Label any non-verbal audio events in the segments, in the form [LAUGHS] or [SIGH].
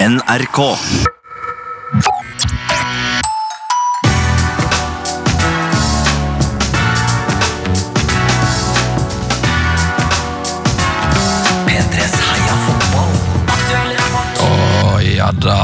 NRK. P3s heia fotball. Å, ja da.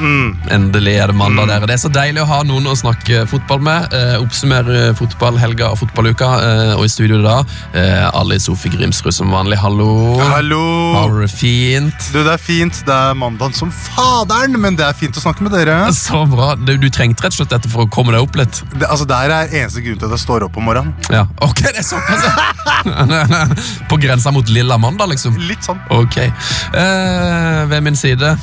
Endelig er det Mm. mandag der. Det er så deilig å ha noen å snakke fotball med. Eh, oppsummere fotballhelga og fotballuka. Eh, og i studio da, eh, Ali Sofie Grimsrud som vanlig. Hallo. Hallo! Har du det fint? Du, det er fint. Det er mandag som faderen, men det er fint å snakke med dere. Så bra. Du, du trengte rett og slett dette for å komme deg opp litt. Det, altså, det her er eneste grunn til at jeg står opp om morgenen. Ja, ok, det er såpass. ja. [LAUGHS] På grensa mot lilla mandag, liksom. Litt sånn. Ok. Eh, ved min side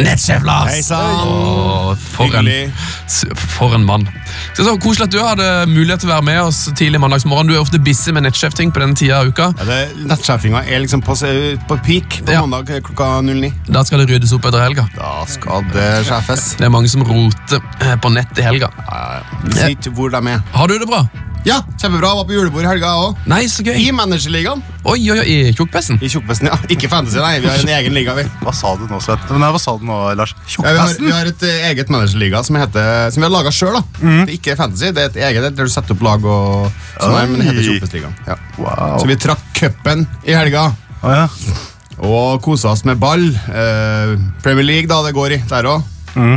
Nettsjef Lars! Hei sann! Åh, For, en- Hyggelig. s- for en mann. Så, så Koselig at du hadde mulighet til å være med oss tidlig mandagsmorgen. Du er ofte busy med nettsjef-ting på den tida av uka. Ja, det- Nettsjefinga er liksom på, se- på peak på Ja. mandag klokka 09. Da skal det ryddes opp etter helga. Da skal det sjefes. Det er mange som roter eh, på nett i helga. Vi sier ikke hvor de er. Har du det bra? Ja, kjempebra. Var på julebord i helga, jeg òg. Nei, så gøy. I managerligaen. Oi, oi, oi, i tjukkpesten. I tjukkpesten, ja. Ikke fantasy, nei. Vi har en egen liga, vi. Hva sa du nå, Svet? Nei, hva sa du nå, Lars? Ja, vi, har, vi Tjukkpesten? har et eh, eget managerliga som, heter, som vi har laga sjøl. Det er ikke fantasy, det er et eget et der du setter opp lag og sånn her, men det heter Oi. tjukkpestligaen. Ja. Wow. Så vi trakk cupen i helga. Å, ja. Og kosa oss med ball. Eh, Premier League, da, det går i der òg.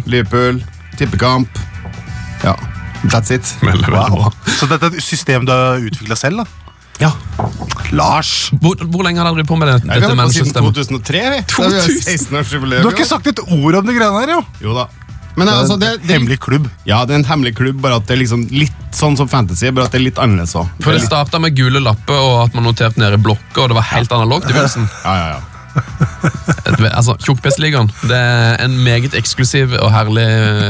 Liverpool, tippekamp. Ja, that's it. Veldig, veldig wow. bra. Så dette er et system du har utvikla selv, da? Ja. Lars! Hvor, hvor lenge har dere drevet på med det, Nei, vi dette har holdt på siden menneskesystemet? 2003, vi. Da vi har 2000? 16-årsjubileum. Du har ikke sagt et ord om de greiene her, jo! Jo da. Men altså, det, det, Hemmelig klubb. ja, det er en hemmelig klubb, bare at det er liksom litt sånn som fantasy. Bare at det er litt annerledes òg. For det starta med gule lapper og at man noterte ned i blokker, og det var helt analogt i begynnelsen. Ja, ja, ja. Et- Altså, Tjukkpestligaen. Det er en meget eksklusiv og herlig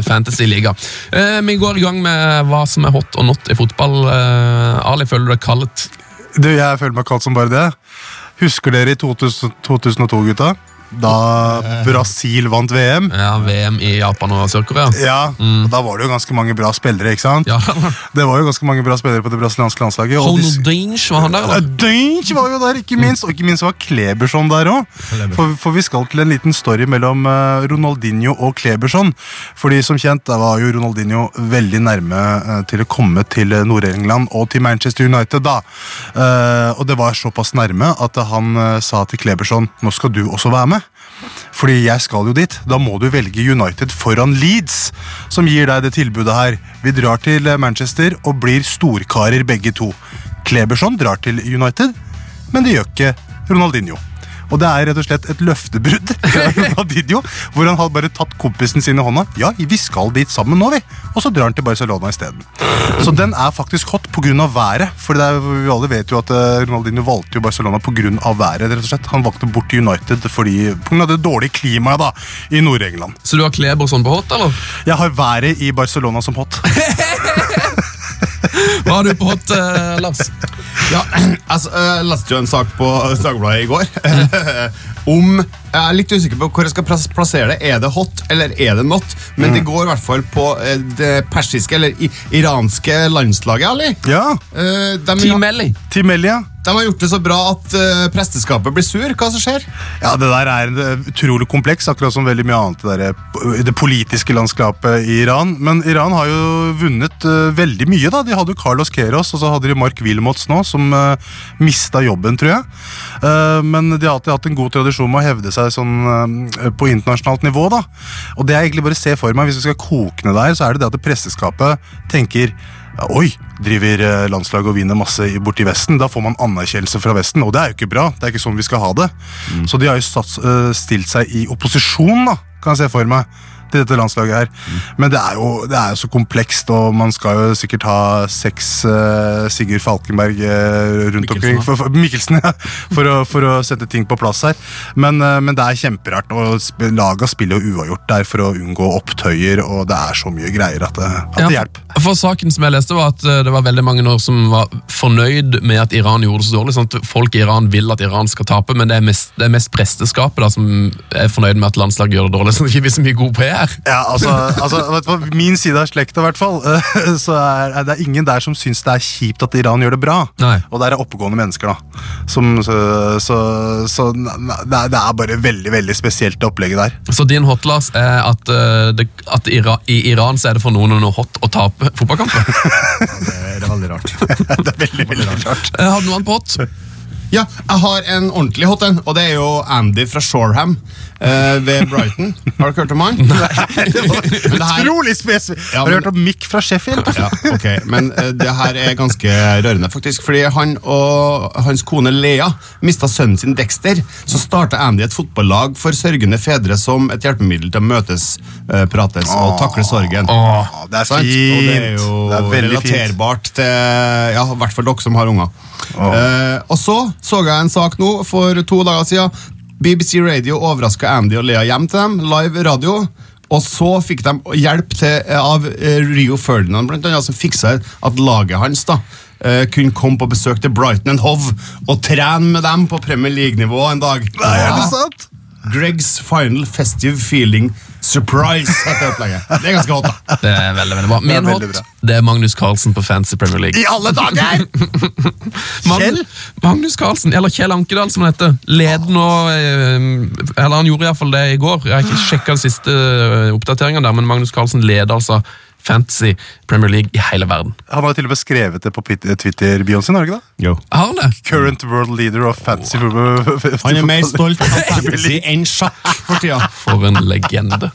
fantasy-liga. Eh, vi går i gang med hva som er hot og not i fotball. Eh, Ali, føler du deg kallet? Du, jeg føler meg kalt som bare det. Husker dere i 2000 2002, gutta? Da Brasil vant VM? Ja, VM i Japan og Sør-Korea? Ja, Mm. og da var det jo ganske mange bra spillere, ikke sant? Ja. Det var jo ganske mange bra spillere på det brasilianske landslaget. Og de, Honodinch, var han der, Ja, eller? Dynch var jo der, ikke minst. Og ikke minst var Kleberson der òg. For, for vi skal til en liten story mellom eh, Ronaldinho og Kleberson. Fordi som kjent, da var jo Ronaldinho veldig nærme eh, til å komme til eh, Nord-England og til Manchester United, da. Eh, og det var såpass nærme at han eh, sa til Kleberson nå skal du også være med. Fordi jeg skal jo dit. Da må du velge United foran Leeds, som gir deg det tilbudet her. Vi drar til eh, Manchester og blir storkarer begge to. Kleberson drar til United, men det gjør ikke Ronaldinho. Og det er rett og slett et løftebrudd [LAUGHS] fra Ronaldinho, hvor han har bare tatt kompisen sin i hånda. Ja, vi skal dit sammen nå, vi. Og så drar han til Barcelona isteden. Så den er faktisk hot pga. været. For det er, vi alle vet jo at eh, Ronaldinho valgte jo Barcelona pga. været, rett og slett. Han valgte bort til United fordi, på grunn av det dårlige klimaet da, i Nord-England. Så du har Kleberson på hot, eller? Jeg har været i Barcelona som hot. Hva har du på hot, eh, Lars? ja [CLEARS THROAT] altså, jeg leste jo en sak på [LAUGHS] Dagbladet i går [LAUGHS] om Jeg er litt usikker på hvor jeg skal plass- plassere det. Er det hot eller er det not? Men det går i hvert fall på eh, det persiske eller i, iranske landslaget, Ali. Ja, Eh, de, Team Melly. Team Elia. de har gjort det så bra at eh, presteskapet blir sur. Hva som skjer? Ja, Det der er en eh, utrolig kompleks, akkurat som veldig mye annet det, der, eh, p- det politiske landskapet i Iran. Men Iran har jo vunnet eh, veldig mye. da. De hadde jo Carlos Keros og så hadde de Mark Wilmots nå, som uh, mista jobben, tror jeg. Eh, men de har alltid hatt en god tradisjon med å hevde seg sånn eh, på internasjonalt nivå. da. Og det jeg egentlig bare ser for meg, hvis vi skal koke ned der, så er det det at det presteskapet tenker ja, Oi, driver eh, landslaget og vinner masse i- borti Vesten. Da får man anerkjennelse fra Vesten, og det er jo ikke bra. Det er ikke sånn vi skal ha det. Mm. Så de har jo sats, eh, stilt seg i opposisjon, da, kan jeg se for meg, til dette landslaget her. Mm. Men det er, jo, det er jo så komplekst, og man skal jo sikkert ha seks eh, Sigurd Falkenberg eh, rundt Mikkelsen, omkring da. for, for, Mikkelsen, [LAUGHS] ja, for, å, for å sette ting på plass her. Men, eh, men det er kjemperart, og sp laga spiller jo uavgjort der for å unngå opptøyer, og det er så mye greier at det, at det Ja, hjelper. for saken som jeg leste var at eh, det var veldig mange år som var fornøyd med at Iran gjorde det så dårlig. sånn at Folk i Iran vil at Iran skal tape, men det er mest, det er mest presteskapet da, som er fornøyd med at landslaget gjør det dårlig. [LAUGHS] så det er ikke vi så mye god PR. her. Ja, altså, altså vet du hva, Min side av slekta, i hvert fall. eh, Så er, er det ingen der som syns det er kjipt at Iran gjør det bra. Nei. Og der er oppegående mennesker, da. Som, så så, så nei, det, er, det er bare veldig veldig spesielt, det opplegget der. Så din hot, Lars, er at, eh, det, at Ira, i Iran så er det for noen noe hot å tape fotballkamper? [LAUGHS] Eh, Det er veldig rart. Det er veldig, veldig rart. Eh, Har du noe annet på hot? [LAUGHS] Ja, jeg har en ordentlig hot en, og det er jo Andy fra Shoreham eh, ved [LAUGHS] Brighton. Har dere hørt om han? Nei, det [LAUGHS] Utrolig spesielt! Ja, Har du men- hørt om Mick fra Sheffield? Ja, ok, Men eh, det her er ganske rørende, faktisk. Fordi han og hans kone Lea mista sønnen sin Dexter. Så starta Andy et fotballag for sørgende fedre som et hjelpemiddel til å møtes, eh, prates og takle sorgen. Åh, det er Sant? Og det er fint. jo Det er veldig fint. relaterbart til ja, i hvert fall dere som har unger. Eh, og så så jeg en sak nå for to dager siden. BBC Radio overraska Andy og Lea hjem til dem. Live radio. Og så fikk de hjelp til, av eh, Rio Ferdinand, blant annet, som fiksa at laget hans da, eh, kunne komme på besøk til Brighton and Hove og trene med dem på Premier League-nivå en dag. Nei, er det sant? Greg's Final Festive Feeling Surprise. heter opplegget. Det er ganske hot, da. Det er veldig, veldig bra. Det er Min veldig hot, bra. det er Magnus Carlsen på Fancy Premier League. I alle dager! Magnus, Magnus Carlsen, eller Kjell Ankedal som han heter. Leder nå eh, Eller han gjorde iallfall det i går. Jeg har ikke sjekka den siste eh, oppdateringen der, men Magnus Carlsen leder altså Fantasy Premier League i hele verden. Han har jo til og med skrevet det på Pit- Twitter-bioen sin. har han ikke det? [LAUGHS] Jo. Har han det? Current world leader of fancy football. Han er mer stolt [LAUGHS] av fantasy enn sjakk for tida. For en [LAUGHS] legende.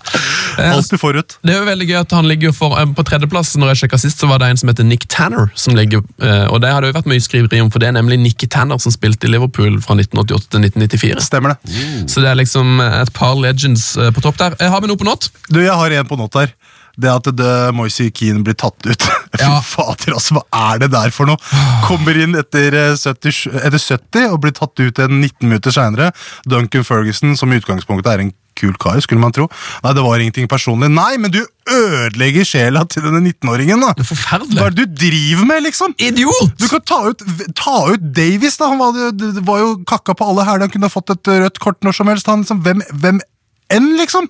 Eh, Alltid forut. Det er jo veldig gøy at han ligger jo for, eh, På tredjeplass når jeg sjekket sist, så var det en som heter Nick Tanner. som ligger, eh, og Det har det jo vært mye skriveri om, for det er nemlig Nicky Tanner som spilte i Liverpool fra 1988 til 1994. Stemmer det. Så det er liksom eh, et par legends eh, på topp der. Jeg har vi noe på nåt? Du, jeg har en på nåt her. Det at The Moisey Keane blir tatt ut. [LAUGHS] Fy Ja. fader, altså, hva er det der for noe? Kommer inn etter eh, 70, etter 70 og blir tatt ut en 19 minutter seinere. Duncan Ferguson, som i utgangspunktet er en kul kar, skulle man tro. Nei, det var ingenting personlig. Nei, men du ødelegger sjela til denne 19-åringen, da! Hva Forferdelig. er det du driver med, liksom? Idiot! Du kan ta ut, ta ut Davies, da. Han var, jo- det var jo kakka på alle hæler. Han kunne ha fått et rødt kort når som helst. Han, liksom, hvem, hvem enn, liksom?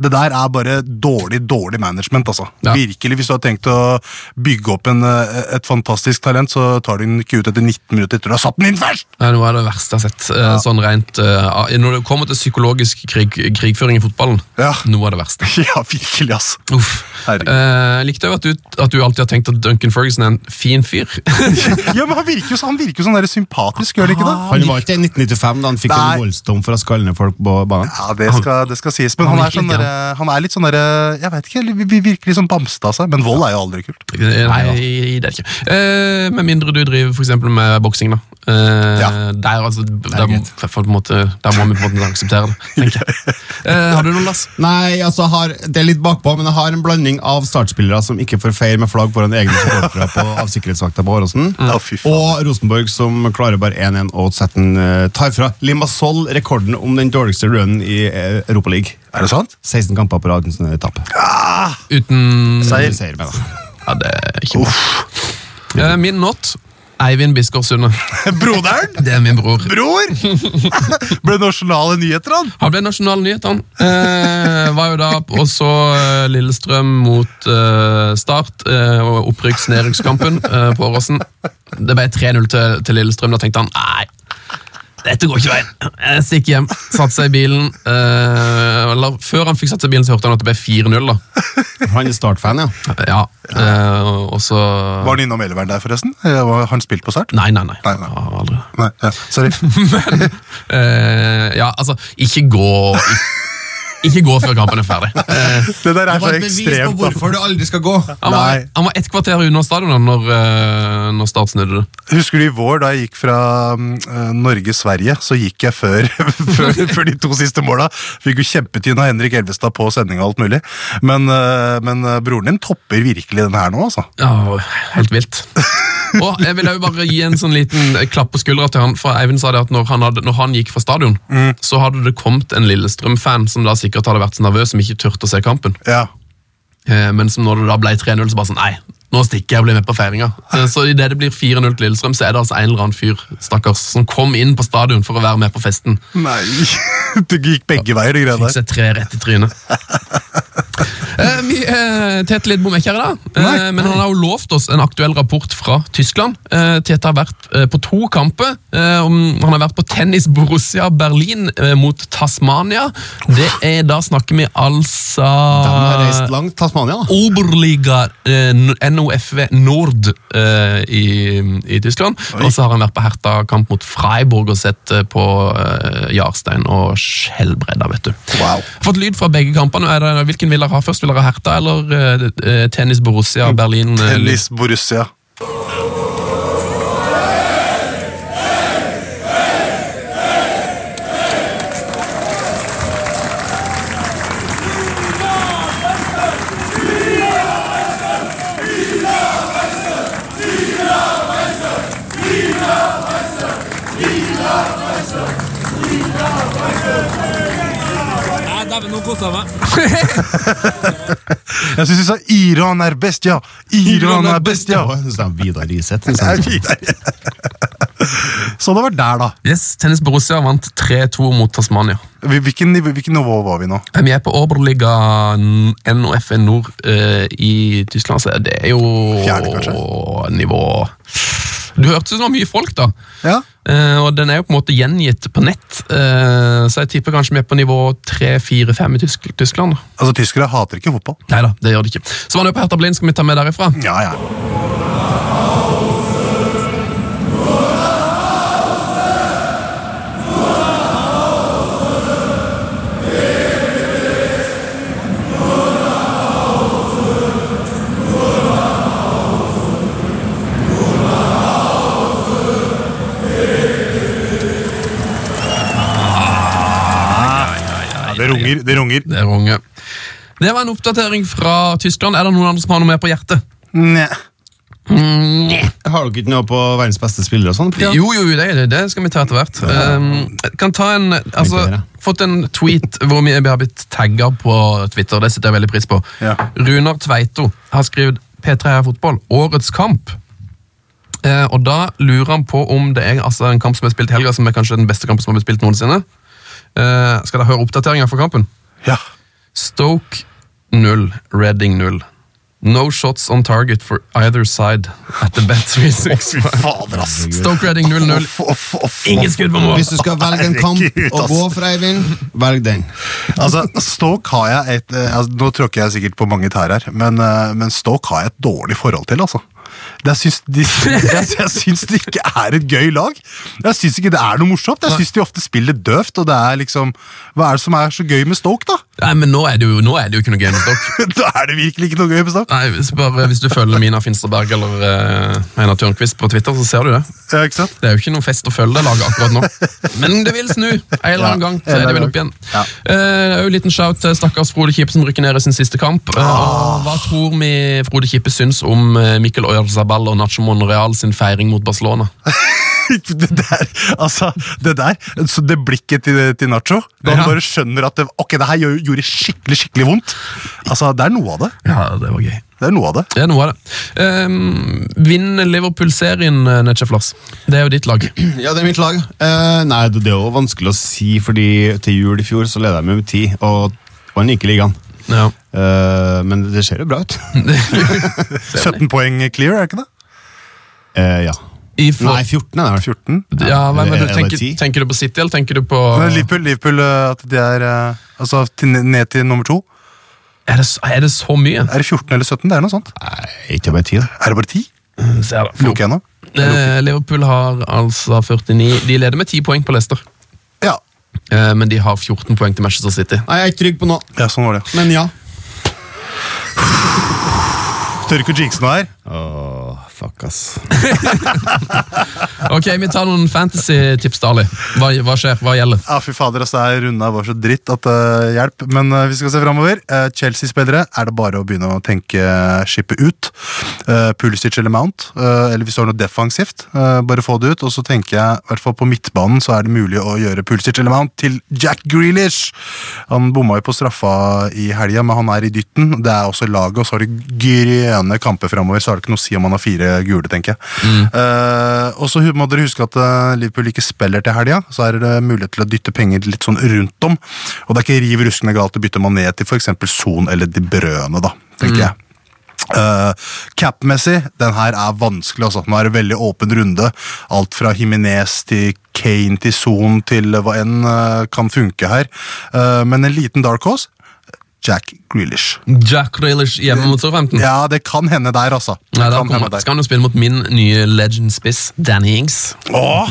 Det der er bare dårlig, dårlig management, altså. Ja. Virkelig, Hvis du har tenkt å bygge opp en, eh, et fantastisk talent, så tar du den ikke ut etter 19 minutter etter du har satt den inn først! Det er noe av det verste jeg har sett. eh, Sånn rent, eh, når det kommer til psykologisk krig, krigføring i fotballen, Ja. noe av det verste. [LAUGHS] Ja, virkelig, ass. Uff. Herregud. Eh, likte jo at du, at du alltid har tenkt at Duncan Ferguson er en fin [LAUGHS] fyr. [LAUGHS] Ja, men Han virker jo så- han virker jo sånn der sympatisk, gjør han ikke det? Han var ikke i 1995 da han fikk Nei. en voldsdom for å skalle ned folk på banen. Ja, det skal, det skal sies, men han, Han er, virker sånn litt, derre- han er litt sånn derre Jeg vet ikke, vi- vi virker litt sånn bamsete av seg. Men vold er jo aldri kult. Eh, Nei, det er det ikke. Eh, med mindre du driver for eksempel med boksing, da. Eh, Ja. Der, altså, der, greit. må, for, på en måte, der må vi på en måte akseptere det. [LAUGHS] tenker jeg. Eh, har du noen, Lars? Nei, altså, jeg har, Det er litt bakpå, men jeg har en blanding av startspillere som ikke får feire med flagg foran egne supportere [LAUGHS] på- av sikkerhetsvakta på Åråsen. Ja, fy faen. Og Rosenborg som klarer bare 1-1 og setter den eh, tar fra Limassol rekorden om den dårligste runnen i eh, Europa League. Er det sant? 16 kamper på rad uten sånn etappe. Uten Seier. Seier med, da. Ja, det er ikke bra. Eh, min not Eivind Biskår Sunde. Broderen? Det er min bror. Bror! [LAUGHS] Ble det nasjonale nyheter, han? Han ble nasjonal nyhet, han. Eh, var jo da og så eh, Lillestrøm mot eh, Start eh, og opprykks-nedrykkskampen eh, på Åråsen. Det ble 3-0 til, til Lillestrøm. Da tenkte han nei, dette går ikke veien. Jeg stikker hjem. Satte seg i bilen. Eh, eller før han fikk satt seg i bilen, så hørte han at det ble 4-0. da. Han er Start-fan, ja. Ja, eh, og så Var han innom Elveren der, forresten? Eh, var- Har han spilt på Start? Nei, nei, nei. Nei, nei. Ja, Aldri. [LAUGHS] Nei, ja, sorry. Men eh, Ja, altså, ikke gå ikke, ikke gå før kampen er ferdig. Eh, Det der er så ekstremt. da. hvorfor du aldri skal gå. Han var, Nei. han var ett kvarter unna stadionet når, eh, når Start snudde det. Husker du i vår, da jeg gikk fra mm, eh, Norge-Sverige, så gikk jeg før, [LAUGHS] før, før de to siste måla. Fikk jo kjempetynn av Henrik Elvestad på sending og alt mulig. Men, eh, men eh, broren din topper virkelig den her nå, altså. Ja, helt vilt. [LAUGHS] Og jeg vil jo bare gi en sånn liten klapp på skuldra til han, for Eivind sa det at når han, hadde, når han gikk fra stadion, Mm. så hadde det kommet en Lillestrøm-fan som da sikkert hadde vært så nervøs som ikke turte å se kampen. Ja. Eh, Men som når det da ble 3-0, så bare sånn Nei, nå stikker jeg og blir med på feiringa. Eh, Så idet det blir 4-0 til Lillestrøm, så er det altså en eller annen fyr stakkars, som kom inn på stadion for å være med på festen. [LAUGHS] Nei Det gikk begge veier, de greiene Fikk der. seg tre rett i trynet. [LAUGHS] Eh, vi, eh, Tete Lidbom er ikke her i dag, eh, Nei. men han har jo lovt oss en aktuell rapport fra Tyskland. Eh, Tete har vært eh, på to kamper. Eh, om- han har vært på tennis Borussia Berlin eh, mot Tasmania. Det er, da snakker vi altså De har reist langt. Tasmania, da. Oberliga eh, N- NOFV Nord eh, i, i Tyskland. Og så har han vært på Herta-kamp mot Freiburg og sett eh, på eh, Jarstein og Skjelbredda, vet du. Wow. Fått lyd fra begge kampene. Er det, hvilken vil dere ha først? Vil dere ha Herta eller eh, eh, tennis Borussia Berlin? eh, Ellis Borussia. Nei, dæven, nå koser jeg meg. Jeg syns de sa 'Iran er best, ja'. Iran er best, ja. Jeg synes det er Vidar Iseth. Det er fint, det. Så det var der, da. Yes, tennis Borussia vant 3-2 mot Tasmania. Hvil- Hvilken, niv- hvilken nivå var vi nå? Eh, Vi er på Oberliga N- NOFV Nord eh, i Tyskland, så det er jo Fjerde, kanskje? nivå Du hørtes ut som det var mye folk, da. Ja, Eh, og den er jo på en måte gjengitt på nett, eh, så jeg tipper kanskje vi er på nivå 3-4-5 i Tysk Tyskland. altså Tyskere hater ikke fotball. Nei da, Neida, det gjør det ikke. Så var det jo på Hertha Blind, skal vi ta med derifra? Ja, ja. Ja, Det runger. det runger. Det er unge. Det var en oppdatering fra Tyskland. Er det noen andre som har noe mer på hjertet? Nei. Har dere ikke noe på verdens beste spillere og sånn? på- Jo, jo, det, det, det skal vi ta etter hvert. Um, jeg kan ta en, altså, Tenkte dere. fått en tweet hvor vi har blitt tagga på Twitter. Det setter jeg veldig pris på. Ja. Runar Tveito har skrevet P3 er fotball. Årets kamp. Eh, og da lurer han på om det er altså, en kamp som er spilt i helga, som er kanskje den beste kampen som har blitt spilt noensinne. Eh, skal dere høre oppdateringa fra kampen? Ja. Stoke 0, Reading 0. No shots on target for either side at the bet 365. Fader, ass. Stoke Reading 0-0. Off, off, off, Ingen off. skudd på mål! Hvis du skal velge en kamp Herregud, å ass. gå for, Eivind, velg den. Altså, Stoke har jeg et eh, altså, Nå tråkker jeg sikkert på mange tær her, men, eh, men Stoke har jeg et dårlig forhold til, altså. Jeg syns, de, [LAUGHS] jeg, jeg syns det ikke er et gøy lag. Jeg syns ikke det er noe morsomt. Jeg syns de ofte spiller døvt, og det er liksom Hva er det som er så gøy med Stoke, da? [LAUGHS] Nei, men nå er det jo, nå er det jo ikke noe gamestock. Da er det virkelig ikke noe gøy med Stoke. Nei, hvis, bare, hvis du følger Mina Finsterberg eller eh, Einar Tørnquist på Twitter, så ser du det. Ja, ikke sant? Det er jo ikke noe fest å følge det laget akkurat nå. Men det vil snu. En eller annen Ja, gang så er det vel opp igjen. Ja. Eh, det er jo en liten shout til stakkars Frode Kippe som rykker ned i sin siste kamp. Eh, og hva tror vi Frode Kippe syns om eh, Mikkel Oyarzabal og Nacho Monreal sin feiring mot Barcelona? [LAUGHS] Det der, altså, det der så Det blikket til, til Nacho da han Ja. bare skjønner at det, Ok, det her gjør- gjorde skikkelig skikkelig vondt. Altså, Det er noe av det. Ja, det var gøy. Det er noe av det. Det er noe av det. Um, Vinn Liverpool-serien, eh, Netchef Lars. Det er jo [CLEARS THROAT] ditt lag. Ja, det er mitt lag. Eh, nei, det det er jo vanskelig å si, fordi til jul i fjor så leda jeg med ti, og vant ikke ligaen. Ja. Eh, men det ser jo bra [LAUGHS] ut. 17 poeng clear, er det ikke det? Eh, ja. I for... Nei, 14 er det. 14? Ja, eh, hvem er Eller du? Tenker, 10? tenker du på City, eller tenker du på Men Liverpool, Liverpool eh, at de er eh, altså, til, ned til nummer to. er, det, så- er det så mye? Er det 14 eller 17? Det er noe sånt. Nei, ikke bare 10. da. Er det bare 10? Ser det. Lukker jeg nå? Eh, Liverpool har altså 49 De leder med 10 poeng på Leicester, Ja. eh, men de har 14 poeng til Manchester City. Nei, jeg er ikke trygg på noe, ja, sånn var det. men ja. Tør ikke å jinxe noe her. Åh, fuck, ass. Ok, Vi tar noen fantasy-tips, Dali. Hva, hva skjer? Hva gjelder? Ja, fy fader, altså, det er runda var så dritt at eh, hjelp. Men eh, vi skal se framover. Chelsea-spillere er det bare å begynne å tenke eh, skippet ut. Eh, Pulisic eller Mount, eh, eller hvis du har noe defensivt, eh, bare få det ut. Og så tenker jeg, i hvert fall på midtbanen, så er det mulig å gjøre Pulisic eller Mount til Jack Grealish. Han bomma jo på straffa i helga, men han er i dytten. Det er også laget, og så har de grønne kamper framover, så har det ikke noe å si om han har fire gule, tenker jeg. Eh, og så hu- må dere huske at eh, Liverpool ikke spiller til helga. Så er det mulighet til å dytte penger litt sånn rundt om. Og det er ikke riv ruskende galt å bytte mané til f.eks. Son eller De Brøne, da, tenker jeg. Eh, Cap-messig, den her er vanskelig. Altså. Nå er det veldig åpen runde. Alt fra Himinez til Kane til Son til hva enn eh, kan funke her. Eh, men en liten dark horse Jack [LAUGHS] Grealish. Jack Grealish hjemme mot Southampton. Ja, det kan hende der, altså. Det Nei, da kan kommer, hende der. skal han jo spille mot min nye legend-spiss, Danny Ings. Åh!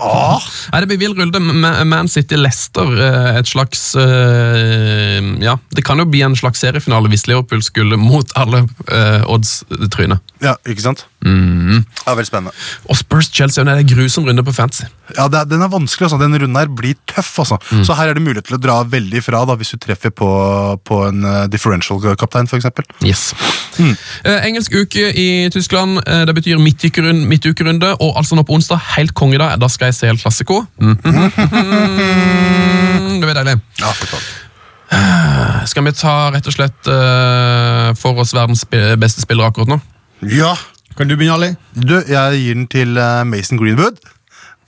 Åh! Nei, Det blir vill rulle. Ma- Man City-Lester, et slags eh, Ja, det kan jo bli en slags seriefinale hvis Liverpool skulle mot alle eh, odds tryne. Ja, ikke sant? Mm-hmm. Det er veldig spennende. Og Spurs-Chelsea det er en grusom runde på fancy. Ja, det er, Den er vanskelig, altså. Den runden her blir tøff. altså. Mm. Så her er det mulighet til å dra veldig fra da, hvis du treffer på, på en eh, differential-kaptein, f.eks. Yes. Hmm. Eh, engelsk uke i Tyskland. eh, det betyr midtukerunde, midtukerunde, og altså nå på onsdag, helt konge da, da skal jeg se El Clasico. [LAUGHS] Det blir deilig. Ja, for faen. Skal vi ta rett og slett eh, for oss verdens spe- beste spillere akkurat nå? ja. Kan du begynne, Ali? Du, jeg gir den til eh, Mason Greenwood.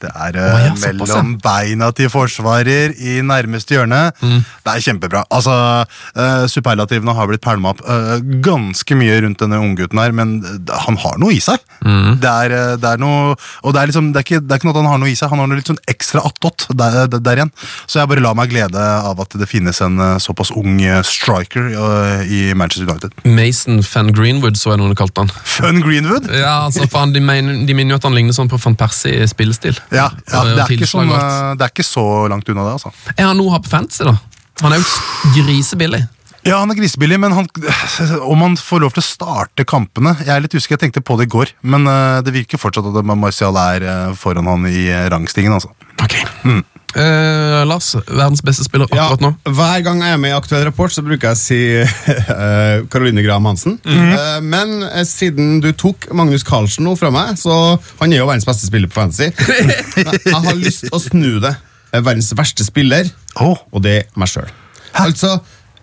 Det er eh, Å, ja, såpass, ja. mellom beina til forsvarer i nærmeste hjørne. Mm. Det er kjempebra. Altså, eh, Superlativene har blitt pælma opp eh, ganske mye rundt denne unggutten her, men eh, han har noe i seg. Mm. Det, er, eh, det er noe Og det er liksom det er, ikke, det er ikke noe at han har noe i seg, han har noe litt sånn ekstra attåt der, eh, der, der igjen. Så jeg bare lar meg glede av at det finnes en eh, såpass ung eh, striker eh, i Manchester United. Mason Fan Greenwood, så jeg noen kalte han. Fun Greenwood! Ja, altså, faen, de, mener, de mener jo at han ligner sånn på van Persie i spillestil. Ja, ja Og- og det, er ikke tilslag sånn, og alt. eh, det er ikke så langt unna det, altså. Er han noe å ha på fantasy, da? Han er jo grisebillig. Ja, han er grisebillig, men han, [SIGHS] om han får lov til å starte kampene Jeg er litt usikker, jeg tenkte på det i går, men eh, det virker fortsatt at Marcial er eh, foran han i eh, rangstigen, altså. Ok. Eh, Lars, verdens beste spiller akkurat nå. Hver gang jeg er med i Aktuell rapport, så bruker jeg å si [LAUGHS] eh, Caroline Graham Hansen. Eh, men eh, siden du tok Magnus Carlsen nå fra meg, så han er jo verdens beste spiller på fantasy. [LAUGHS] Men jeg har lyst til å snu det. Eh, Verdens verste spiller, Åh. og det er meg sjøl. Altså,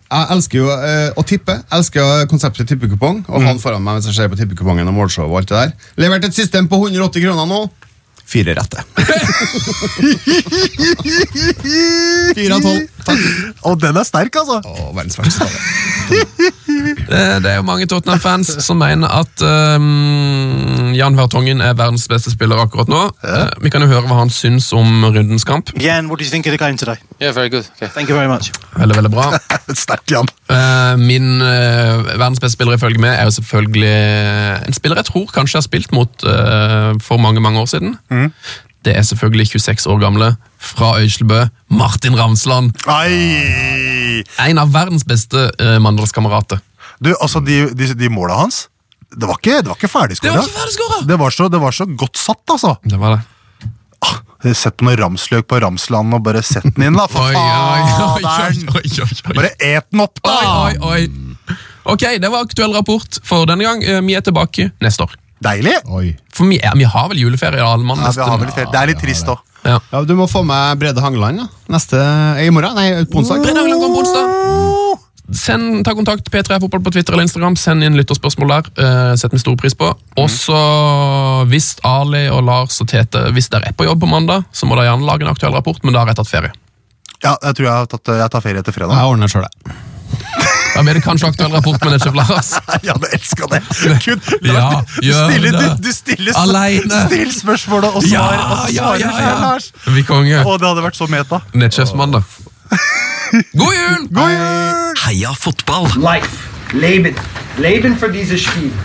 jeg elsker jo eh, å tippe. Jeg elsker jo konseptet tippekupong. Og han foran meg mens jeg ser på tippekupongen og målshow og alt det der. Levert et system på 180 kroner nå. Fire rette. Fire av tolv. Takk. Og den er sterk, altså! Å, verdens verste skade. Eh, det er jo mange Tottenham-fans som mener at eh, Jan Vertongen er verdens beste spiller akkurat nå. Eh, vi kan jo høre hva han syns om rundens kamp. Jan, what do you think of the game today? Yeah, very good. Okay. Thank you very much. Veldig, veldig bra. [LAUGHS] Sterk, Jan. Eh, min eh, verdens beste spiller ifølge meg er jo selvfølgelig eh, en spiller jeg tror kanskje jeg har spilt mot eh, for mange, mange år siden. Mm. Det er selvfølgelig 26 år gamle fra Øyslebø, Martin Ramsland. Ai! En av verdens beste uh, mandagskamerater. Du, altså, de, de, de måla hans Det var ikke, det var ikke ferdigskåra. Det var ikke ferdigskåra! Det, var så- det var så godt satt, altså. Det var det. Sett noe ramsløk på Ramsland og bare sett den inn, da, for Oi, oi, oi, faen! oi, oi, oi, oi. Bare et den opp, da! Oi, oi, oi. Ok, det var aktuell rapport for denne gang. Eh, Vi er tilbake neste år. Deilig! Oi. For vi, er, vi har vel juleferie, alle mann? Ja, vi har vel litt, det er litt trist òg. Ja. Ja, du må få med Brede Hangeland da. neste eh, i morgen. Nei, på onsdag. Brede Hageland kommer på onsdag. Send, ta kontakt P3 Fotball på Twitter eller Instagram. Send inn lytterspørsmål der. Uh, setter vi stor pris på. Mm. Og så, hvis Ali og Lars og Tete Hvis dere er på jobb på mandag, så må dere gjerne lage en aktuell rapport, men da har jeg tatt ferie. Ja, jeg tror jeg, har tatt, jeg tar ferie etter [LAUGHS] fredag. Jeg ordner sjøl, jeg. Da blir det kanskje aktuell rapport, men ikke for [LAUGHS] Lars. Ja, du elsker det! Kun, Ja, du, gjør stiller, det. du, du stiller s- Aleine. Still spørsmålet og svar, og så svarer selv, Lars! Vi konge. Å, det hadde vært så meta. [LAUGHS] Nettsjefsmandag. God jul! Heia fotball! Life. Leben. Leben für dieses Spiel.